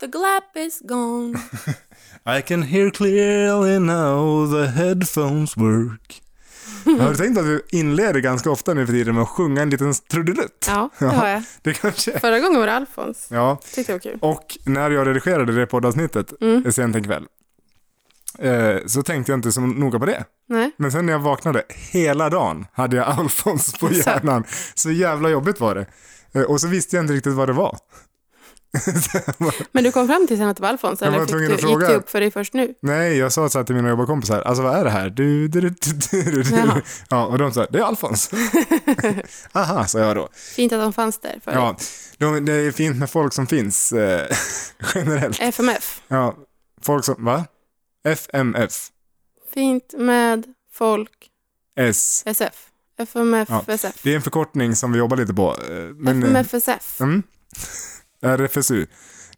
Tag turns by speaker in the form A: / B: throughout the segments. A: The glap is gone.
B: I can hear clearly now the headphones work. Har du tänkt att vi inleder ganska ofta nu för tiden med att sjunga en liten trudelutt?
A: Ja, det har jag.
B: Det kanske...
A: Förra gången var det Alfons.
B: Ja,
A: Tyckte jag var kul.
B: och när jag redigerade det poddavsnittet mm. sent en kväll eh, så tänkte jag inte så noga på det.
A: Nej.
B: Men sen när jag vaknade, hela dagen hade jag Alfons på
A: Jaså?
B: hjärnan. Så jävla jobbigt var det. Eh, Och så visste jag inte riktigt vad det var.
A: Men du kom fram till sen att det var Alfons?
B: Jag var
A: Eller fick
B: tvungen
A: du,
B: att fråga.
A: gick det upp för dig först nu?
B: Nej, jag sa så här till mina jobbarkompisar, alltså vad är det här? Du, du, du, du, du, du.
A: Jaha.
B: Ja, och de sa, det är Alfons. Aha, sa jag då.
A: Fint att de fanns där för
B: Ja, de, det är fint med folk som finns, eh, generellt.
A: FMF.
B: Ja, folk som, va? FMF,
A: Fint med folk
B: S.
A: SF. FMF,
B: Ja.
A: SF.
B: Det är en förkortning som vi jobbar lite på. eh, Men, eh,
A: FMFSF.
B: Mm. RFSU.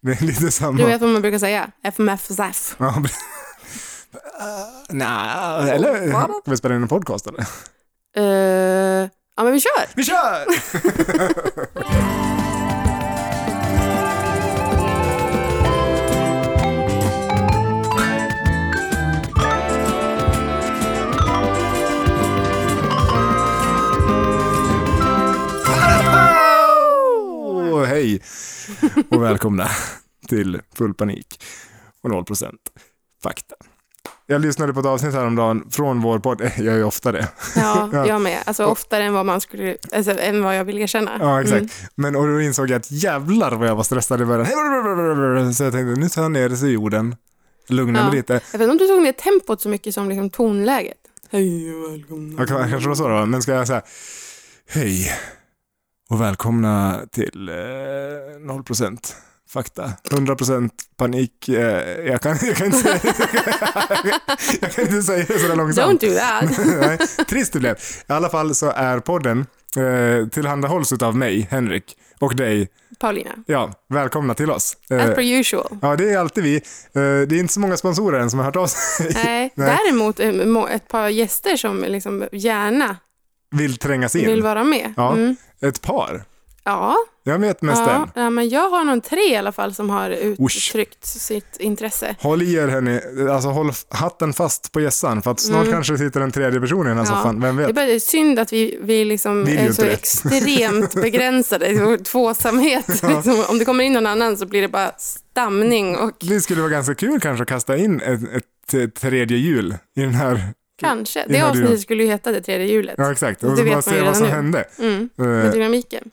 B: Det är lite samma.
A: Du vet vad man brukar säga? FMFSF.
B: Ja, pre- Nej, eller
A: Vad?
B: ska vi spela in en podcast eller?
A: Uh, ja, men vi kör!
B: Vi kör! Åh, Hej och välkomna till Full panik och 0% fakta. Jag lyssnade på ett avsnitt häromdagen från vår podd, jag gör ju ofta det, Ja.
A: Ja, jag med. Alltså oftare än vad man skulle, alltså, än vad jag vill erkänna.
B: Ja, exakt.
A: Mm.
B: Men och då insåg jag att jävlar vad jag var stressad i början. Så jag tänkte, nu tar jag ner det i jorden. Lugna mig
A: Ja.
B: lite.
A: Jag vet inte om du tog ner tempot så mycket som liksom tonläget. Hej och välkomna.
B: Jag kan- kanske var så då, men ska jag säga hej och välkomna till eh, 0% fakta. 100% panik. Eh, jag, kan, jag, kan inte säga, jag kan inte säga det sådär långsamt.
A: Don't do that.
B: Nej, trist det blev. I alla fall så är podden eh, tillhandahålls av mig, Henrik, och dig.
A: Paulina.
B: Ja, välkomna till oss. Eh,
A: As per usual.
B: Ja, det är alltid vi. Eh, Det är inte så många sponsorer än som har hört av sig.
A: Nej, däremot eh, må- ett par gäster som liksom gärna
B: Vill trängas
A: vill
B: in.
A: vara med.
B: Ja.
A: Mm.
B: Ett par.
A: Ja,
B: Jag vet mest
A: ja,
B: en.
A: ja, men jag har någon tre i alla fall som har
B: Usch.
A: uttryckt sitt intresse.
B: Håll i er hörni, alltså håll f- hatten fast på gässan för att snart kanske det sitter en tredje person i den här
A: Mm. Ja.
B: soffan, vem
A: Det är
B: vet?
A: bara det är synd att vi, vi liksom
B: Vill ju
A: är
B: inte
A: så
B: det.
A: extremt begränsade i vår tvåsamhet. Liksom, om det kommer in någon annan så blir det bara stamning och
B: Det skulle vara ganska kul kanske att kasta in ett, ett, ett tredje hjul i den här,
A: kanske.
B: det
A: Det
B: hade
A: avsnittet
B: jag.
A: skulle ju heta Det tredje hjulet.
B: ja exakt,
A: Det
B: och så
A: vet
B: bara
A: man ju
B: se vad
A: redan
B: som
A: nu.
B: hände.
A: Mm, med
B: Eh,
A: dynamiken.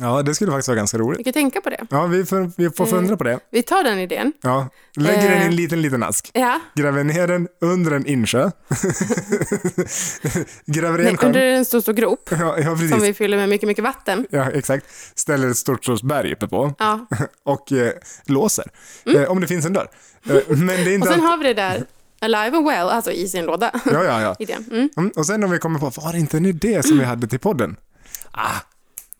B: Ja, det skulle faktiskt vara ganska roligt.
A: Vi kan tänka på det.
B: Ja, vi får, vi får
A: Eh.
B: fundera på det.
A: Vi tar den idén.
B: Ja. Lägger den i en
A: Eh.
B: liten, liten ask.
A: Ja.
B: Gräver ner den under en insjö. Gräver i
A: Nej,
B: en sjön.
A: under en stor, stor grop
B: Ja, ja precis.
A: som vi fyller med mycket, mycket vatten.
B: Ja, exakt. Ställer ett stort sorts berg uppe på
A: Ja. Mm.
B: och eh, låser. Eh, om det finns en dörr. Eh, men det är
A: Och
B: inte...
A: sen
B: allt-
A: har vi det där Alive and Well, alltså i sin låda.
B: Ja, ja, ja.
A: Idén. Mm.
B: Mm, och sen om vi kommer på, var det inte en idé som vi hade till podden? Ah,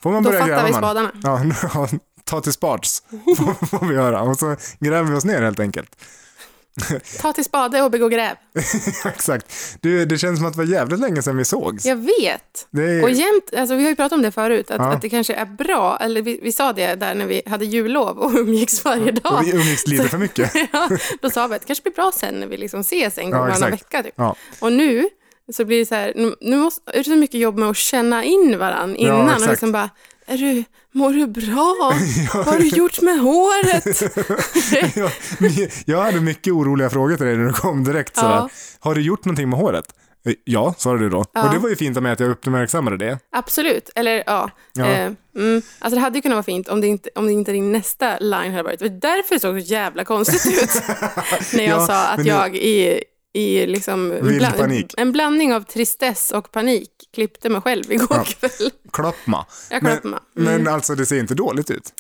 B: får man
A: Då
B: börja
A: fattar
B: gräva
A: vi
B: man.
A: spadarna.
B: Ja, nu- ja, ta till sparts får, får vi göra. Och så gräver vi oss ner helt enkelt.
A: Ta till spade och begå gräv.
B: exakt. Du, det känns som att det var jävligt länge sedan vi sågs.
A: Jag vet.
B: Det är,
A: Och jämt, alltså vi har ju pratat om det förut, att,
B: Ja.
A: att det kanske är bra, eller vi, vi sa det där när vi hade jullov och umgicks varje dag.
B: och vi umgicks lite för mycket.
A: ja, då sa vi att det kanske blir bra sen när vi liksom ses en gång
B: Ja,
A: varannan
B: exakt.
A: vecka. Typ.
B: Ja.
A: Och nu så blir det så här, nu, nu måste, är det så mycket jobb med att känna in varann innan.
B: exakt.
A: och liksom bara, är du, mår du bra? Vad har du gjort med håret?
B: jag, jag hade mycket oroliga frågor till dig när du kom direkt sådär.
A: Ja.
B: Har du gjort någonting med håret? Eh, Ja, sa du då.
A: Ja.
B: Och det var ju fint av mig att jag uppmärksammade det.
A: Absolut, eller ja.
B: Ja.
A: Eh, mm. Alltså det hade ju kunnat vara fint om det inte, om det inte din nästa line hade varit. Det var därför det såg så jävla konstigt ut när jag
B: Ja,
A: sa att
B: men det-
A: jag i, i liksom en,
B: Vild panik.
A: en blandning av tristess och panik klippte mig själv igår
B: Ja.
A: kväll.
B: Klappma.
A: Jag
B: Men-
A: klippte mig.
B: Men alltså det ser inte dåligt ut.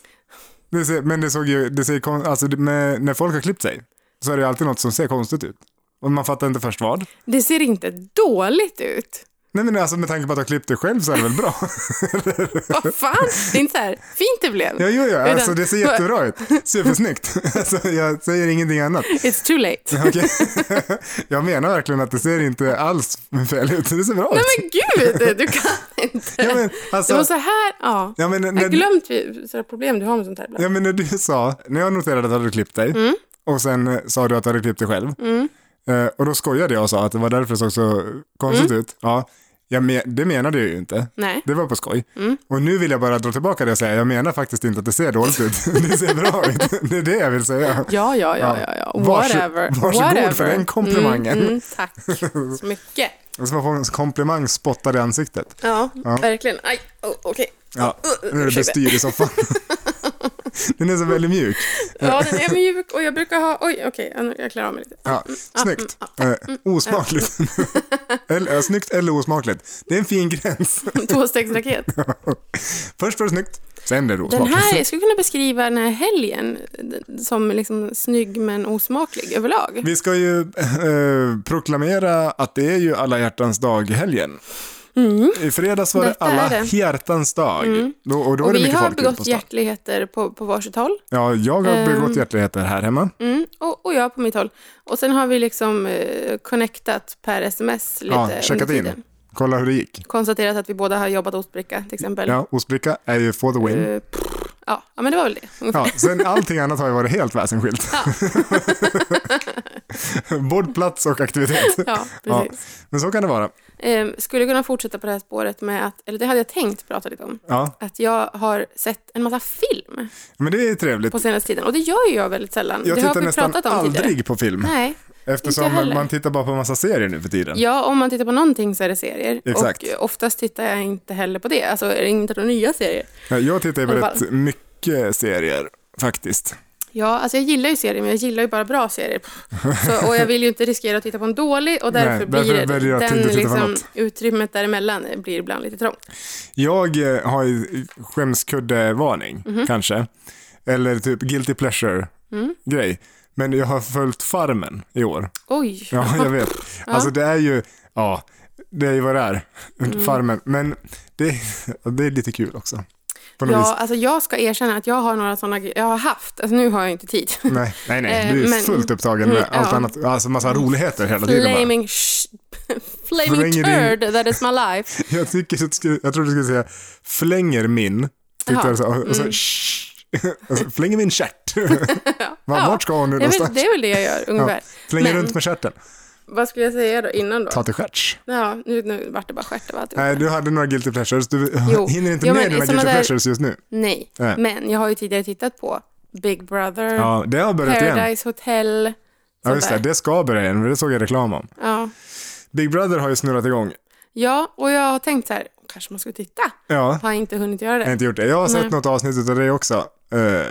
B: Det ser, men det såg ju, det ser kon- alltså det- med, när folk har klippt sig så är det ju alltid något som ser konstigt ut. Och man fattar inte först vad.
A: Det ser inte dåligt ut.
B: Nej men alltså med tanke på att jag klippte själv så är det väl bra?
A: Vad fan? Det är inte så här fint det blev.
B: Ja, jo, ja. Alltså, det ser jättebra ut. Supersnyggt. Alltså, jag säger ingenting annat.
A: It's too late.
B: Okej. Jag menar verkligen att det ser inte alls fel ut. Det ser bra
A: Nej
B: ut.
A: men gud, du kan inte.
B: Ja, men,
A: det var
B: alltså,
A: så här, ja.
B: ja, men,
A: Jag har
B: när,
A: glömt vi- sådana problem du har med sånt här ibland.
B: ja, men när du sa, när jag noterade att du hade klippt dig
A: Mm.
B: och sen eh, sa du att du hade klippt dig själv. Eh, och då skojade jag och sa att det var därför det såg så konstigt ut. Ja, jag men, det menade jag ju inte.
A: Mm. Nej. Mm.
B: Det var på skoj. Och nu vill jag bara dra tillbaka det och säga, jag menar faktiskt inte att det ser dåligt ut. Det ser bra ut. Det är det jag vill säga.
A: Ja, ja, ja,
B: Ja.
A: ja, ja.
B: Varså-
A: Whatever.
B: varsågod
A: Whatever.
B: för den komplimangen.
A: Mm, mm, tack så mycket.
B: Och så får man en komplimang spottad i ansiktet.
A: Ja, verkligen. Aj, oh, okej.
B: Ja, nu är det
A: uh, Ursäkta.
B: bestyr i soffan. Den är så väldigt mjuk.
A: Ja, den är mjuk och jag brukar ha... Oj, okej, ja, nu- jag klarar av mig lite.
B: Ja, snyggt.
A: mm,
B: Eh, osmakligt. Eller, ja, snyggt eller osmakligt. Det är en fin gräns.
A: Tvåstegsraket.
B: Först var det snyggt, sen blev det
A: Den
B: osmakligt.
A: här, jag skulle kunna beskriva den här helgen eh, som liksom snygg men osmaklig överlag.
B: Vi ska ju eh, proklamera att det är ju alla hjärtans dag-helgen. I fredags var det
A: Mm. Detta är
B: alla
A: det. Mm.
B: hjärtans dag. Då, och då var
A: Och
B: det
A: vi
B: mycket
A: har
B: folk ute på
A: begått
B: stan.
A: hjärtligheter på, på varsitt håll.
B: Ja, jag har
A: Ehm.
B: begått hjärtligheter här hemma.
A: Mm, och, och jag på mitt håll. Och sen har vi liksom eh, connectat per sms lite
B: Ja,
A: under
B: checkat
A: tiden.
B: in. Kolla hur det gick.
A: Konstaterat att vi båda har jobbat ostbricka till exempel.
B: Ja, ostbricka är ju for the win.
A: Eh, pff, ja, ja, men det var väl det.
B: Ja, sen allting annat har ju varit helt väsensskilt. Både plats och aktivitet.
A: Ja, precis.
B: Men så kan det vara.
A: Ehm, skulle kunna fortsätta på det här spåret med att, eller det hade jag tänkt prata lite om,
B: Ja,
A: att jag har sett en massa film
B: men det är trevligt.
A: på senaste tiden. Och det gör ju jag väldigt sällan.
B: Jag
A: det har
B: tittar
A: vi
B: nästan
A: pratat om
B: aldrig
A: tidigare.
B: på film.
A: Nej.
B: eftersom
A: inte heller.
B: man tittar bara på en massa serier nu för tiden.
A: Ja, om man tittar på någonting så är det serier.
B: Exakt.
A: Och eh, oftast tittar jag inte heller på det. Alltså, är det inte några nya serier?
B: Ja, Jag tittar ju på
A: I alla fall.
B: rätt mycket serier faktiskt.
A: Ja, alltså jag gillar ju serier, men jag gillar ju bara bra serier. Så, och jag vill ju inte riskera att titta på en dålig och därför
B: Nej, därför
A: blir
B: väljer jag att
A: den,
B: inte titta på
A: liksom,
B: något.
A: utrymmet däremellan blir ibland lite trångt.
B: Jag eh, har ju skämskuddevarning,
A: Mhm.
B: kanske. Eller typ guilty pleasure-grej.
A: Mm.
B: Men jag har följt Farmen i år.
A: Oj,
B: Ja, jag vet. Alltså det är ju, ja, det är ju vad det är,
A: Mm.
B: Farmen. Men det, det är lite kul också. På något
A: Ja,
B: vis.
A: alltså jag ska erkänna att jag har några sådana grejer. Jag har haft, alltså nu har jag inte tid.
B: Nej, nej, nej, du är
A: Eh, men-
B: fullt upptagen med
A: Mm,
B: allt
A: ja. Mm.
B: annat. Alltså massa roligheter hela tiden. Bara.
A: Flaming, sh- flaming
B: Flänger in-
A: turd, that is my life.
B: Jag, tycker, att du skulle- jag tror du skulle säga flänger min, tyckte
A: Jaha, Mm.
B: jag, så, och, och så "Shh." alltså, flänger min stjärt. Var,
A: Ja,
B: vart ska hon nu
A: Det är,
B: någonstans?
A: väl, det är väl det jag gör ungefär.
B: Flänger
A: Men-
B: runt med stjärten.
A: Vad skulle jag säga då innan då?
B: Ta till stjärts.
A: Ja, nu, nu vart det bara typ. stjärt av alltihop.
B: Nej, du hade några guilty pleasures. Du
A: Jo.
B: hinner inte
A: Jo,
B: med
A: men
B: dina
A: såna där-
B: guilty
A: Mm.
B: pleasures just nu.
A: Nej,
B: Nej.
A: men jag har ju tidigare tittat på Big Brother,
B: Ja, det har börjat igen.
A: Paradise Hotel.
B: Ja, just det.
A: sånt där.
B: Det ska börja igen, men det såg jag reklam om.
A: Ja.
B: Big Brother har ju snurrat igång.
A: ja, och jag har tänkt så här, kanske man skulle titta.
B: Ja,
A: Har inte hunnit göra
B: jag har
A: det.
B: inte gjort det. Jag har sett
A: Nej.
B: något avsnitt av det också. Eh,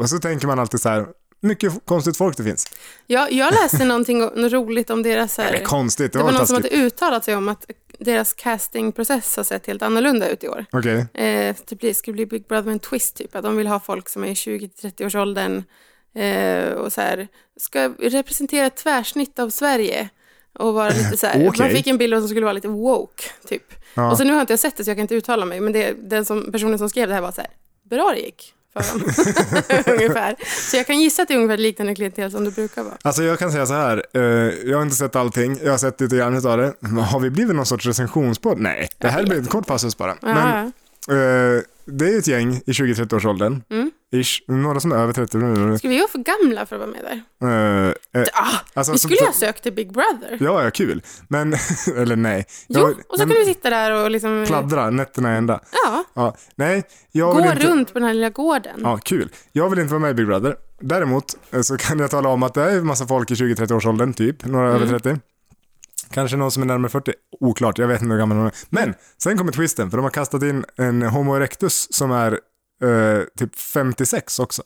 B: och så tänker man alltid så här, mycket konstigt folk det finns.
A: Jag, jag läste någonting o- något roligt om deras... Så
B: Det
A: här,
B: är konstigt, det,
A: det var
B: var
A: någon som
B: taskigt.
A: hade uttalat sig om att deras castingprocess har sett helt annorlunda ut i år.
B: Okej,
A: Eh, det blir- skulle bli Big Brother med en twist, typ. Att de vill ha folk som är i 20-30-årsåldern eh, och så här, ska representera ett tvärsnitt av Sverige. Och vara lite så här,
B: Okej.
A: Man fick en bild av som skulle vara lite woke, typ.
B: Ja.
A: Och så nu har jag inte sett det, så jag kan inte uttala mig. Men det, den som, personen som skrev det här var så här, bra det gick för dem. ungefär. Så jag kan gissa att det är ungefär liknande klientel som det brukar vara.
B: alltså jag kan säga så här, eh, jag har inte sett allting, jag har sett lite grann utav det. Har vi blivit någon sorts recensionspodd? Nej, det här blir ett kort passus bara. Men
A: Ja.
B: eh, det är ju ett gäng i 20-30-årsåldern,
A: Mm.
B: ish, några som är över 30 nu.
A: Skulle vi vara för gamla för att vara med där?
B: Eh, eh,
A: Ah,
B: alltså,
A: vi
B: så-
A: skulle ju
B: så-
A: ha sökt till Big Brother.
B: Ja, ja, kul. Men, eller nej.
A: Jo,
B: Jag-
A: och så
B: nej,
A: kunde vi sitta där och liksom...
B: Pladdra nätterna i ända.
A: Ja.
B: Ja, nej, jag
A: Gå
B: vill inte...
A: runt på den här lilla gården.
B: Ja, kul. Jag vill inte vara med i Big Brother. Däremot eh, så kan jag tala om att det är en massa folk i 20-30-årsåldern, typ. Några över
A: Mm.
B: 30. Kanske någon som är närmare 40. Oklart, jag vet inte hur gammal hon är. Men sen kommer twisten, för de har kastat in en Homo erectus som är eh, typ 56 också.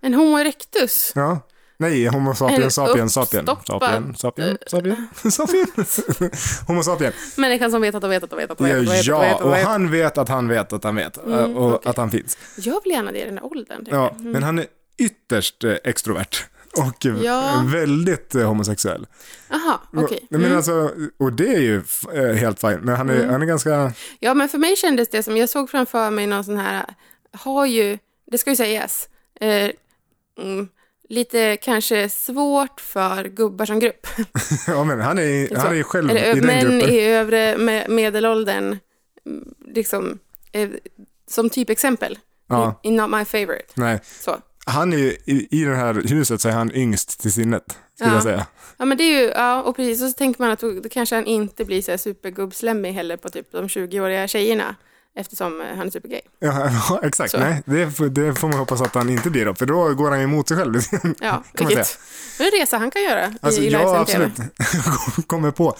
A: En homo erectus.
B: Ja. Nej, Homo sapien,
A: En
B: sapien, sapien,
A: uppstoppad-
B: sapien, sapien, sapien, sapien, Homo sapien.
A: Människan som vet att de vet att de vet att de vet att de vet att de
B: Ja,
A: vet. att de
B: och
A: vet.
B: han vet att han vet att han vet
A: Mm,
B: eh, och att han finns.
A: Jag vill gärna det i den här åldern. typ. tänker
B: Ja, men han är ytterst eh, extrovert. och
A: Ja.
B: väldigt eh, homosexuell.
A: Jaha, okej.
B: Men
A: Mm.
B: alltså, och det är ju f- eh, helt fint. Men han är, han är ganska...
A: Ja, men för mig kändes det som, jag såg framför mig någon sån här, har ju, det ska ju sägas, eh, mm, lite kanske svårt för gubbar som grupp.
B: Ja, men han är,
A: Så.
B: han är ju själv
A: Eller,
B: i
A: ö-
B: den
A: män
B: gruppen.
A: i övre me- medelåldern, mm, liksom, eh, som typexempel.
B: Ja.
A: I, not my favorite.
B: Nej,
A: Så.
B: han är ju, i, i det här huset så är han yngst till sinnet, skulle
A: Ja.
B: jag säga.
A: Ja, men det är ju, ja, och precis, och så tänker man att då, då kanske han inte blir så här supergubbslemmig heller på typ de 20-åriga tjejerna, eftersom eh, han är supergay.
B: Ja, ja exakt.
A: Så.
B: Nej, det, får- det får man hoppas att han inte blir då, för då går han ju emot sig själv.
A: Ja,
B: man
A: vilket, det är en resa han kan göra
B: Alltså,
A: i, i
B: jag
A: livesänd
B: absolut
A: TV.
B: kommer på...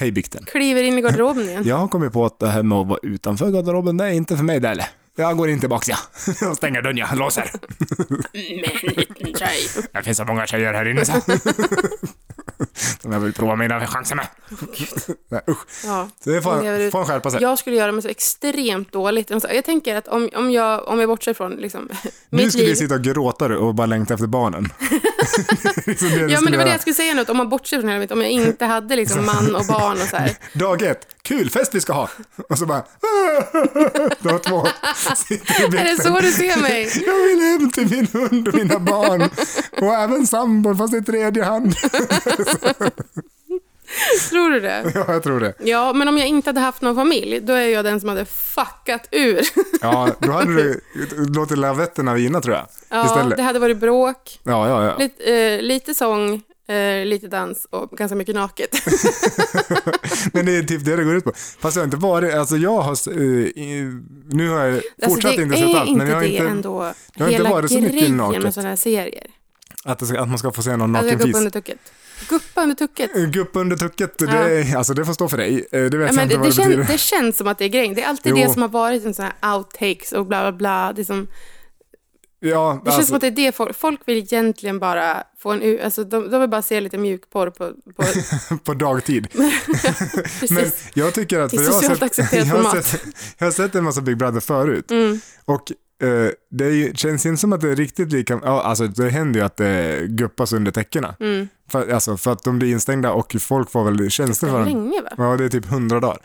B: Hej Bikten.
A: Kliver in i garderoben igen.
B: Jag har kommit på att det här med att vara utanför garderoben, det är inte för mig det heller. Jag går in tillbaks ja. Jag stänger dörren jag låser.
A: Men liten tjej.
B: Det finns så många tjejer här inne så. Som jag vill prova mina chanser med. Nej, usch.
A: Ja.
B: Så det
A: Hon lever
B: får
A: ut.
B: får han skärpa sig.
A: Jag skulle göra mig så extremt dåligt. Och så- Jag tänker att om, om, jag, om jag bortser från liksom,
B: Nu
A: mitt
B: skulle
A: liv.
B: vi sitta och gråta du, och bara längta efter barnen. Det är liksom du
A: Ja men det var
B: skulle
A: det
B: göra.
A: jag skulle säga nu, att om man bortser från hela mitt, om jag inte hade liksom man och barn och så här.
B: Dag ett, kul fest vi ska ha! Och så bara... Dag två, sitter i
A: Är det
B: bilen.
A: så du ser mig?
B: Jag vill hem till min hund och mina barn. Och även sambon, fast i tredje hand.
A: Tror du det?
B: Ja, jag tror det.
A: Ja, men om jag inte hade haft någon familj, då är jag den som hade fuckat ur.
B: Ja, då hade du låtit lavetterna vina tror jag.
A: Ja,
B: Istället.
A: det hade varit bråk,
B: Ja, ja, ja.
A: lite, eh, lite sång, eh, lite dans och ganska mycket naket.
B: Men det är typ det det går ut på. Fast jag har inte varit, alltså jag har, eh, i- nu har jag fortsatt
A: alltså, det
B: inte
A: är
B: sett allt.
A: inte
B: Men jag har
A: det
B: inte,
A: ändå
B: jag har inte
A: hela
B: varit så mycket
A: grejen
B: naket.
A: med sådana här serier.
B: att, det ska, att man ska få se någon
A: Alltså
B: naken
A: guppa under
B: fis.
A: tucket. Guppa under tucket.
B: Gupp under tucket, det, alltså det får stå för dig. Eh, Det vet
A: Ja,
B: jag
A: men
B: inte
A: det,
B: vad
A: det,
B: det,
A: kän,
B: betyder.
A: det känns som att det är grejen. Det är alltid
B: Jo.
A: det som har varit en sån här outtakes och bla bla bla. Det, är som,
B: Ja,
A: det känns
B: alltså,
A: som att det är det folk, folk vill egentligen bara få en u- alltså de, de vill bara se lite mjukporr på, på
B: på dagtid.
A: precis.
B: Men jag tycker att...
A: I
B: för jag har
A: socialt
B: sett-
A: accepterat
B: jag har,
A: format. Mm.
B: sett, jag har sett en massa Big Brother förut. Och eh, det är ju, känns inte som att det är riktigt lika... Ja, alltså det händer ju att det guppas under täckena.
A: Mm.
B: För, alltså, för att de blir instängda och folk får väl tjänster
A: Det
B: för
A: var
B: dem.
A: länge va?
B: Ja, det är typ 100 dagar.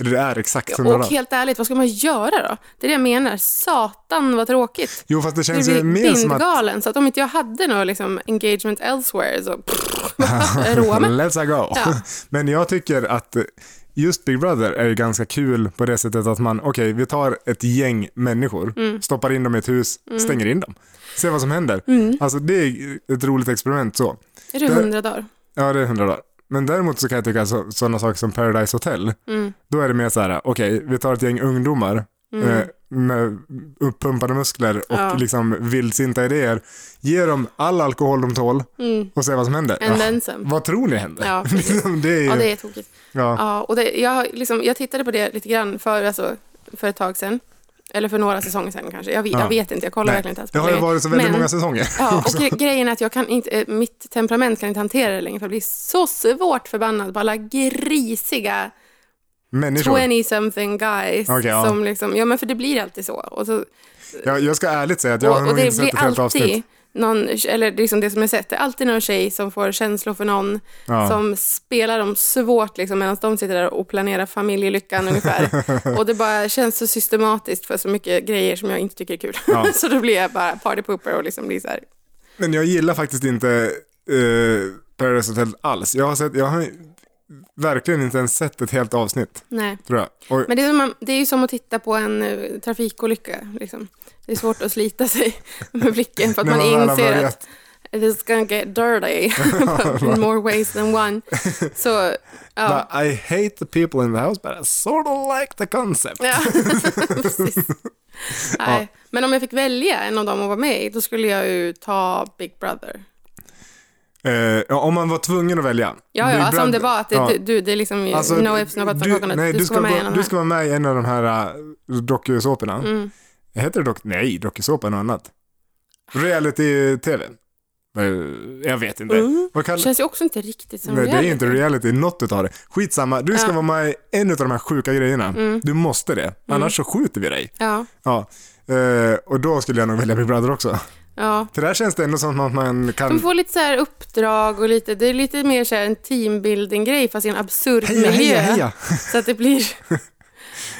B: Eller det är exakt 100
A: Mm. Och
B: dagar.
A: helt ärligt, vad ska man göra då? Det är det jag menar. Satan vad tråkigt.
B: Jo, fast Alltså, det
A: Du
B: känns
A: blir
B: ju mer som att...
A: bindgalen, så att om inte jag hade något liksom, engagement elsewhere så... Roa mig.
B: Let's go.
A: Ja.
B: Men jag tycker att just Big Brother är ju ganska kul på det sättet att man, okej, vi tar ett gäng människor,
A: Mm.
B: stoppar in dem i ett hus, stänger in dem. Se vad som händer.
A: Mm.
B: Alltså det är ett roligt experiment så.
A: Är det
B: Det-
A: hundra dagar?
B: Ja, det är hundra dagar. Men däremot så kan jag tycka så, sådana saker som Paradise Hotel,
A: Mm.
B: då är det mer så här, okej, vi tar ett gäng ungdomar eh, med uppumpade muskler och
A: Ja.
B: liksom vildsinta idéer, ge dem all alkohol de tål och se vad som händer.
A: And
B: Ja.
A: then some.
B: Ah, Vad tror ni händer?
A: Mm. Ja, precis.
B: det är ju,
A: Ja, det är tokigt.
B: ja.
A: Ja, och det, jag, har liksom, jag tittade på det lite grann för, alltså, för ett tag sedan. Eller för några säsonger sedan kanske. Jag vet,
B: Ja.
A: jag vet inte, jag kollar
B: Ah. Nej,
A: verkligen inte alls på
B: Det har ju
A: längre.
B: varit så väldigt
A: Men-
B: många säsonger.
A: Ja, och gre- grejen är att jag kan inte, eh, mitt temperament kan inte hantera det längre för jag blir så svårt förbannad på alla grisiga
B: Människor.
A: 20-something guys.
B: Okej, ja.
A: som liksom, ja, men för det blir alltid så. Och så
B: Jag, jag ska ärligt säga att jag har
A: och, och
B: nog inte
A: det blir
B: sett ett helt
A: alltid
B: avsnitt.
A: någon, eller liksom det som jag sett, det är alltid någon tjej som får känslor för någon,
B: Ja.
A: som spelar dem svårt liksom, medan de sitter där och planerar familjelyckan ungefär. och det bara känns så systematiskt för så mycket grejer som jag inte tycker är kul.
B: Ja.
A: så då blir jag bara party pooper och liksom blir så här.
B: Men jag gillar faktiskt inte eh, Paradise Hotel alls. Jag har, sett, jag har verkligen inte ens sett ett helt avsnitt,
A: Nej.
B: tror jag. Och,
A: Men det är, som, det är ju som att titta på en eh, trafikolycka. Liksom. Det är svårt att slita sig med blicken för att
B: När
A: man
B: man väl har
A: inser
B: börjat.
A: att it's gonna get dirty in more ways than one. Så, ja.
B: But I hate the people in the house but I sort of like the concept.
A: Ja, precis. Nej. Men om jag fick välja en av dem att vara med i, då skulle jag ju ta Big Brother.
B: Eh, ja, om man var tvungen att välja.
A: Ja, ja,
B: Big
A: alltså om det
B: Brother-
A: var att det,
B: ja.
A: du, du, det är liksom
B: Alltså,
A: no ifs, no buts, no coconuts.
B: nej,
A: du, ska vara med i en
B: gå-
A: av de här.
B: Du
A: Mm.
B: ska vara med i en av de här uh, dokusåporna. Heter det dock, nej, dokusåpa är något annat. Reality-tv. Eh, Jag vet inte.
A: Mm.
B: Vad kallar-
A: Känns ju också inte riktigt som
B: Nej, det är ju inte
A: reality.
B: reality, något utav det. Skitsamma, du ska
A: Ja. Mm.
B: vara med i en av de här sjuka grejerna. Du måste det, annars så skjuter vi dig.
A: Ja,
B: Ja. Eh, och då skulle jag nog välja Big Brother också.
A: Ja.
B: Det där känns det ändå som att man
A: De
B: kan...
A: får lite så här uppdrag och lite, det är lite mer så här en teambuilding-grej fast i en absurd
B: Heja,
A: miljö.
B: heja, heja!
A: Så att det blir,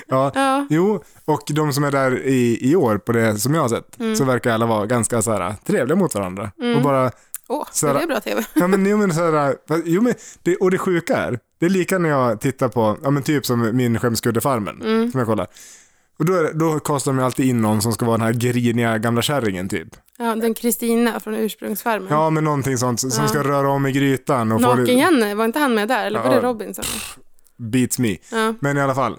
B: Ja,
A: ja,
B: Jo, och de som är där i, i år, på det som jag har sett, så verkar alla vara ganska så här, trevliga mot varandra. Och bara,
A: åh,
B: Så här-
A: det är bra tv.
B: ja men, jo, men så här, fast- jo, men det, och det sjuka är, det är lika när jag tittar på, ja men typ som min Skämskuddefarmen, som jag kollar. Och då, är det- då kastar de ju alltid in någon som ska vara den här griniga gamla kärringen typ.
A: Ja, den Kristina från ursprungsfarmen.
B: Ja, men någonting sånt som ska röra om i grytan och få det,
A: Naken-Janne, var inte han med där? Eller var
B: Ja.
A: det Robinson?
B: beats me.
A: Ja,
B: Men i alla fall.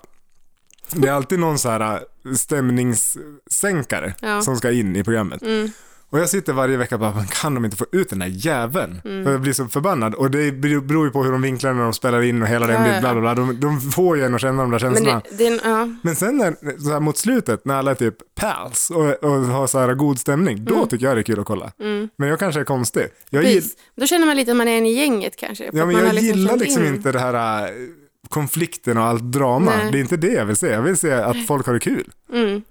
B: Det är alltid någon så här äh, stämningssänkare
A: Ja. Mm.
B: som ska in i programmet. Och jag sitter varje vecka och bara, "Men kan de inte få ut den där jäveln?
A: Mm.
B: Och jag blir så förbannad. Och det beror ju på hur de vinklar när de spelar in och hela den
A: Ja,
B: biten,
A: ja.
B: bla bla bla. De, de får ju en att känna de
A: men
B: där känslorna.
A: det,
B: Men,
A: det, är en- ja.
B: sen när, så här mot slutet, när alla är typ pals och, och har så här god stämning, då tycker jag det är kul att kolla. Men jag kanske är konstig. Jag, gill,
A: Mm. Precis. Då känner man lite att man är en i gänget kanske. för
B: ja,
A: att
B: men
A: man har
B: jag gillar
A: känt
B: liksom
A: in.
B: inte det här äh, konflikten och allt drama.
A: Nej.
B: Det är inte det jag vill se. Jag vill se att folk har det kul.
A: Mm.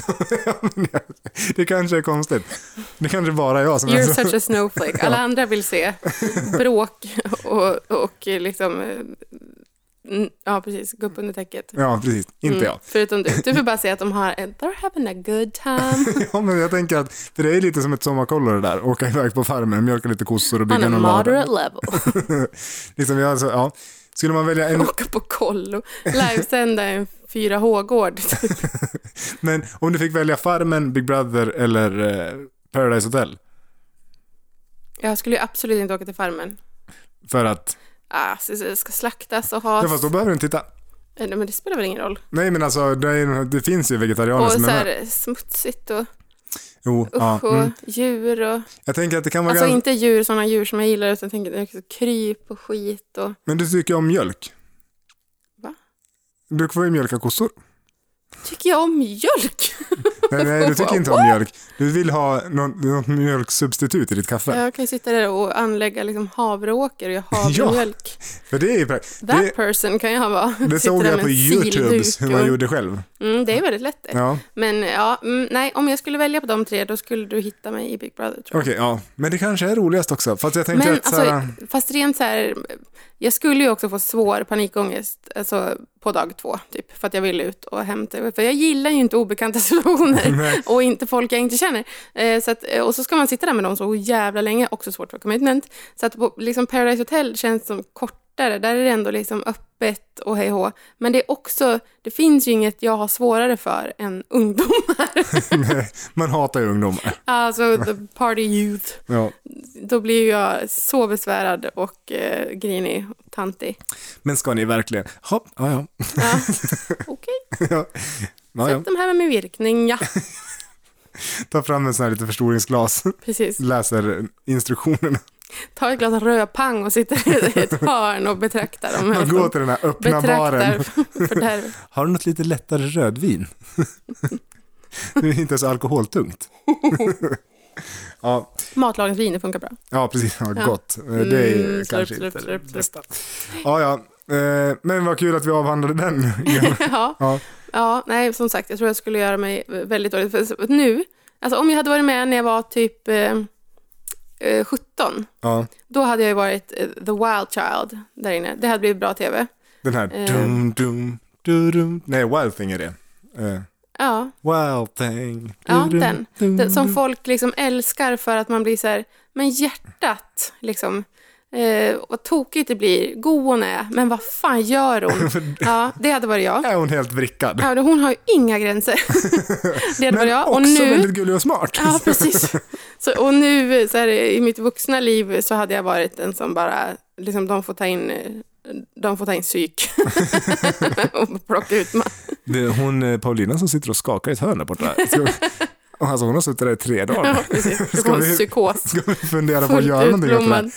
B: Det kanske är konstigt. Det kanske bara är jag som är
A: You're
B: så.
A: such a snowflake. Alla andra vill se bråk och, och liksom... eh, n- Ja, precis. Gå upp under täcket.
B: Ja, precis. Inte
A: Mm,
B: jag.
A: Förutom du. Du vill bara säga att de har en, they're having a good time.
B: Ja, men jag tänker att för det är lite som ett sommarkollo det där. Åka iväg på farmen, mjölka lite kossor och
A: On
B: bygga
A: a
B: någon lada.
A: moderate level.
B: Liksom, jag, alltså, ja. Skulle man välja en...
A: Åka på kollo. Livesända en 4H-gård. typ.
B: Men om du fick välja Farmen, Big Brother eller eh, Paradise Hotel.
A: Jag skulle ju absolut inte åka till farmen.
B: För att...
A: Ah, så- så det ska slaktas och has.
B: Ja, fast då behöver du inte titta.
A: Eh, Nej, men det spelar väl ingen roll.
B: Nej, men alltså det, är, det finns ju vegetarianer
A: och
B: som
A: så
B: är med.
A: här smutsigt och
B: Jo, ja.
A: usch och
B: Mm.
A: djur och...
B: Jag tänker att det kan vara
A: Alltså
B: ganska...
A: inte djur, sådana djur som jag gillar, utan jag tänker liksom kryp och skit och...
B: Men du tycker om mjölk.
A: Va?
B: Du får ju mjölka kossor.
A: Tycker jag om mjölk?
B: Nej, nej, du tycker inte om mjölk. Du vill ha något, något mjölksubstitut i ditt kaffe.
A: Jag kan ju sitta där och anlägga liksom havreåker och göra havremjölk.
B: För det är ju pra-
A: That
B: det,
A: person kan jag vara. Sitter
B: det såg
A: där
B: jag
A: med
B: på
A: en
B: YouTube
A: silduk
B: hur man
A: och-
B: gjorde själv.
A: Mm, det är väldigt lätt det.
B: Ja,
A: Men ja, mm, nej, om jag skulle välja på de tre, då skulle du hitta mig i Big Brother tror
B: okej,
A: jag.
B: ja. Men det kanske är roligast också. Fast jag tänker
A: Men
B: att så här,
A: alltså, fast rent så här, jag skulle ju också få svår panikångest alltså, på dag två, typ, för att jag vill ut och hämta. För jag gillar ju inte obekanta situationer
B: Nej.
A: och inte folk jag inte känner. Eh, så att, eh, och så ska man sitta där med dem så jävla länge, också svårt för commitment. Så att på, liksom Paradise Hotel känns som kortare, där är det ändå liksom öppet och hej hå. Men det är också, det finns ju inget jag har svårare för än ungdomar.
B: man hatar ju ungdomar.
A: alltså the party youth.
B: Ja.
A: Då blir ju jag så besvärad och eh, grinig och tantig.
B: Men ska ni verkligen? Hopp, ja, ja.
A: Ja. Okej,
B: ja. Ja, ja.
A: sätt dem här med virkning, ja.
B: Ta fram en sån här lite förstoringsglas,
A: Precis.
B: läser instruktionerna.
A: Ta ett glas rödpang och sitta i ett hörn och betrakta dem.
B: Och gå till den här öppna
A: alltså, Betraktar
B: baren.
A: fördärvet.
B: Har du något lite lättare rödvin? det är inte så alkoholtungt. ja,
A: Matlagningens viner funkar bra.
B: Ja, precis. Ja,
A: Ja.
B: gott. Eh, Det är
A: Mm, slurp,
B: kanske
A: slurp,
B: inte
A: slurp,
B: det
A: slurp.
B: bästa. Ja, ja. Eh, Men vad kul att vi avhandlade den.
A: ja.
B: Ja.
A: Ja. nej, som sagt, jag tror jag skulle göra mig väldigt dåligt. För så- nu, alltså om jag hade varit med när jag var typ eh, eh, 17,
B: ja,
A: då hade jag ju varit eh, the wild child där inne. Det hade blivit bra tv.
B: den här.
A: Eh.
B: Dum, dum, du, dum. Nej, Wild Thing är det. Eh,
A: Ja,
B: Wild Thing.
A: Ja,
B: Du, dum,
A: den.
B: dum,
A: Det, som
B: dum.
A: folk liksom älskar för att man blir så här, men hjärtat liksom. Eh, vad tokigt det blir. God hon är, men vad fan gör hon? ja, det hade varit jag.
B: Är hon helt vrickad?
A: Ja, hon har ju inga gränser. det hade
B: Men
A: varit jag.
B: också
A: Och nu,
B: väldigt gullig och smart.
A: ja, precis. Så, och nu så här, i mitt vuxna liv så hade jag varit den som bara, liksom, de får ta in eh, de får ta in psyk och plocka ut mig.
B: Det är hon eh, Paulina som sitter och skakar i ett hörn där borta. Ska vi... Och Alltså hon har suttit där i tre
A: Ja,
B: dagar.
A: precis. Du
B: Ska
A: får
B: vi-
A: en psykos.
B: Ska vi fundera på att
A: Fullt
B: göra någonting åt det här?
A: utblommad. Mm.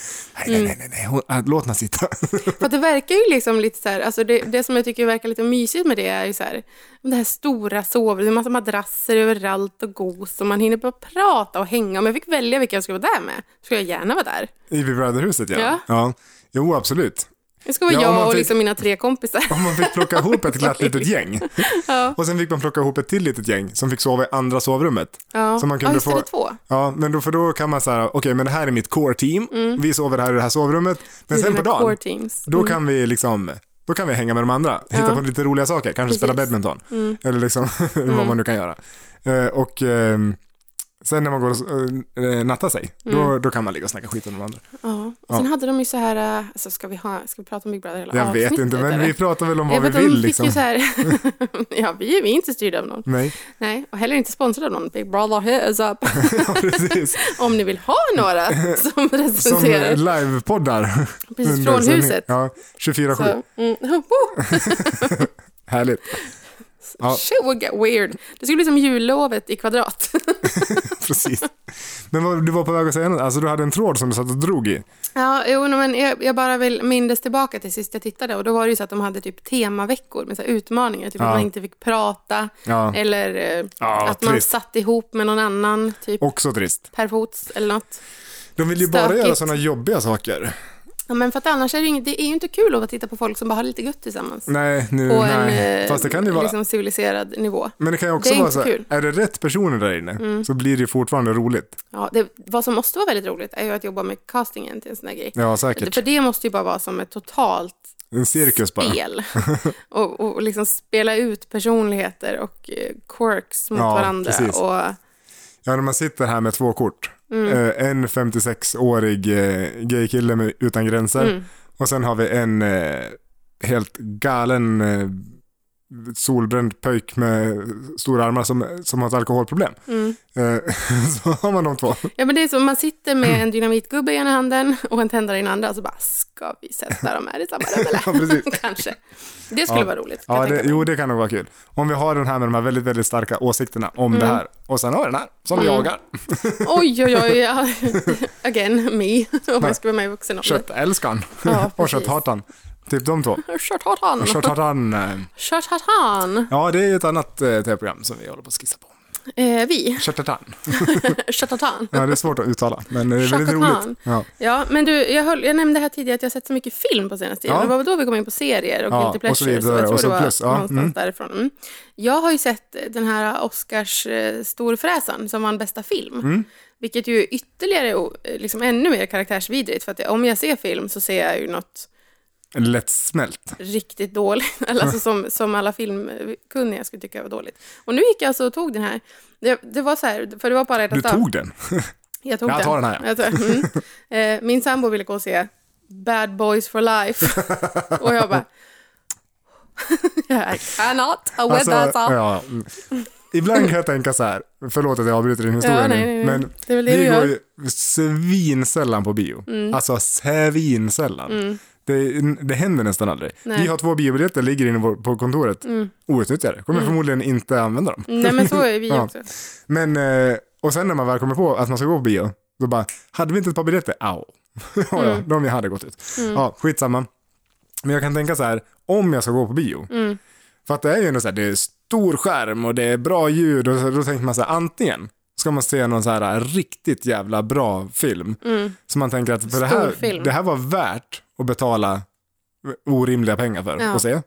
B: Nej, nej, nej, nej, nej. Hon, äh, låt henne sitta.
A: För att det verkar ju liksom lite så här, alltså det, det som jag tycker verkar lite mysigt med det är ju så här, det här stora sovrummet, det är massa madrasser överallt och gos och man hinner bara prata och hänga. Om jag fick välja vilka jag skulle vara där med, skulle jag gärna vara där.
B: I Big Brother-huset ja.
A: Ja.
B: ja. Jo, absolut.
A: Det ska vara
B: Ja, om man
A: jag och
B: fick-
A: liksom mina tre kompisar.
B: Om man fick plocka ihop ett glatt litet gäng.
A: Ja.
B: Och sen fick man plocka ihop ett till litet gäng som fick sova i andra sovrummet.
A: Ja.
B: Så man kunde
A: ja, just det,
B: få-
A: det är två.
B: Ja, men då, för då kan man säga, okej, men det här är mitt core team. Vi sover här i det här sovrummet. Men
A: Det Mm. är
B: sen på
A: dina core
B: dagen,
A: teams.
B: då kan vi liksom, då kan vi hänga med de andra. Hitta
A: Mm. Ja.
B: på lite roliga saker, kanske spela
A: Precis.
B: badminton.
A: Mm.
B: Eller liksom vad man nu kan göra. Eh, och ehm, sen när man går och eh, nattar sig,
A: Mm.
B: då, då kan man ligga och snacka skit om de andra.
A: Ja. Och sen hade de ju så här, eh, alltså ska vi, ha, ska vi prata om Big Brother hela
B: Jag vet inte,
A: avsnittet,
B: men
A: eller?
B: vi pratar väl om
A: Jag
B: vad vi
A: vet, de
B: vill
A: fick
B: liksom.
A: ju så här, ja vi är, vi är inte styrda av någon.
B: Nej,
A: Nej, och heller inte sponsrade av någon. Big Brother heads up.
B: ja, precis.
A: Om ni vill ha några som
B: Som
A: recenserar.
B: livepoddar.
A: Precis,
B: under
A: från
B: sändning.
A: huset.
B: Ja, 24-7.
A: Så, mm, oh,
B: Härligt. Ja.
A: shit would get weird. Det skulle bli som jullovet i kvadrat.
B: Precis. Men vad, du var på väg att säga något. Alltså du hade en tråd som du satt och drog i.
A: Ja, jo, nej, men jag, jag bara vill mindes tillbaka till sist jag tittade och då var det ju så att de hade typ temaveckor med så här utmaningar, typ
B: Ja.
A: att man inte fick prata
B: Ja,
A: eller eh,
B: Ja,
A: att man
B: trist.
A: satt ihop med någon annan, typ
B: också trist.
A: per fots eller något.
B: De vill ju bara
A: Stökigt.
B: göra sådana jobbiga saker.
A: Ja, men för att annars är det ju, inget- det är ju inte kul att titta på folk som bara har lite gött tillsammans.
B: Nej, nu,
A: På
B: Mm, nej.
A: en eh,
B: Fast det kan ju vara...
A: liksom civiliserad nivå.
B: men det kan ju också
A: det är
B: vara
A: inte
B: så här,
A: kul. Mm.
B: är det rätt personer där inne så blir det ju fortfarande roligt.
A: Ja, det, vad som måste vara väldigt roligt är ju att jobba med castingen till en sån här grej.
B: Ja, säkert.
A: För det måste ju bara vara som ett totalt
B: En cirkus bara.
A: spel. och, och liksom spela ut personligheter och eh, quirks mot
B: Ja,
A: varandra.
B: precis.
A: Och,
B: Ja, när man sitter här med två kort.
A: Mm.
B: Eh, en 56-årig eh, gaykille med- utan gränser.
A: Mm.
B: Och sen har vi en eh, helt galen eh, solbränd pöjk med stora armar som, som har ett alkoholproblem.
A: Mm.
B: Eh, så har man de två.
A: ja, men det är som man sitter med en dynamitgubbe i ena handen och en tändare i den andra och så bara, ska vi sätta dem här i samma rum
B: Ja, precis.
A: eller? Kanske. Det skulle
B: Ja.
A: vara roligt. kan
B: Ja,
A: jag
B: det,
A: tänka mig.
B: jo, det kan nog vara kul. Om vi har den här med de här väldigt, väldigt starka åsikterna om
A: Mm.
B: det här. Och sen har vi den här som vi jagar.
A: Oj, oj, oj. ja. Again, me. Om
B: Nej.
A: jag skulle vara med i vuxenåldern.
B: Köttälskaren
A: Ja,
B: och
A: precis.
B: kötthatan. Typ de två.
A: Kört-hatan.
B: Kötthatan. eh,
A: Kört-hatan.
B: Ja, det är ju ett annat eh, tv-program som vi håller på att skissa på.
A: Eh, vi.
B: Kötthatan.
A: Kört-hatan.
B: Ja, det är svårt att uttala, men det är väldigt
A: Chakatan.
B: roligt. Ja.
A: Ja, men du, jag, höll, jag nämnde här tidigare att jag har sett så mycket film på senaste tiden.
B: Ja.
A: Det var väl då vi kom in på serier och
B: Ja,
A: guilty
B: och så
A: pleasures.
B: vidare.
A: jag tror
B: Och så
A: det var
B: plus, ja,
A: någonstans
B: mm.
A: därifrån. Mm. Jag har ju sett den här Oscars eh, storfräsaren som vann bästa film.
B: Mm.
A: Vilket ju är ytterligare, o- eh, liksom ännu mer karaktärsvidrigt. För att jag- om jag ser film så ser jag ju något
B: Lättsmält.
A: riktigt dåligt. Eller alltså som, som alla filmkunniga skulle tycka var dåligt. Och nu gick jag alltså och tog den här. Det, det var så här, för det var bara ett
B: Du
A: tag.
B: tog den.
A: Jag tog
B: Jag
A: den.
B: tar den här, ja.
A: Jag tar- mm. eh, min sambo ville gå och se Bad Boys for Life. och jag bara... I cannot with
B: Alltså,
A: that song.
B: ja. mm. Ibland kan jag tänka så här, förlåt att jag avbryter din historia
A: Ja, nej,
B: nu,
A: nej, nej.
B: men
A: Det är väl det
B: vi
A: du gör.
B: går
A: Mm.
B: ju svinsällan på bio. Alltså svinsällan. Det, det händer nästan aldrig.
A: Nej. Mm.
B: Vi har två biobiljetter, ligger inne på- på kontoret, outnyttjade. Kommer förmodligen inte använda dem.
A: Nej, men så är vi
B: Ja.
A: också.
B: Men, eh, och sen när man väl kommer på att man ska gå på bio, då bara, hade vi inte ett par biljetter? Au. ja, ja,
A: Mm.
B: de jag hade gått ut. Ja, skitsamma. Men jag kan tänka så här, om jag ska gå på bio,
A: Mm.
B: för att det är ju ändå så här, det är stor skärm och det är bra ljud och så, då tänker man så här, antingen ska man se någon så här eh, riktigt jävla bra film, som man tänker att för det,
A: Mm. Stor
B: här,
A: film.
B: det här var värt att betala orimliga pengar för
A: Ja.
B: att se.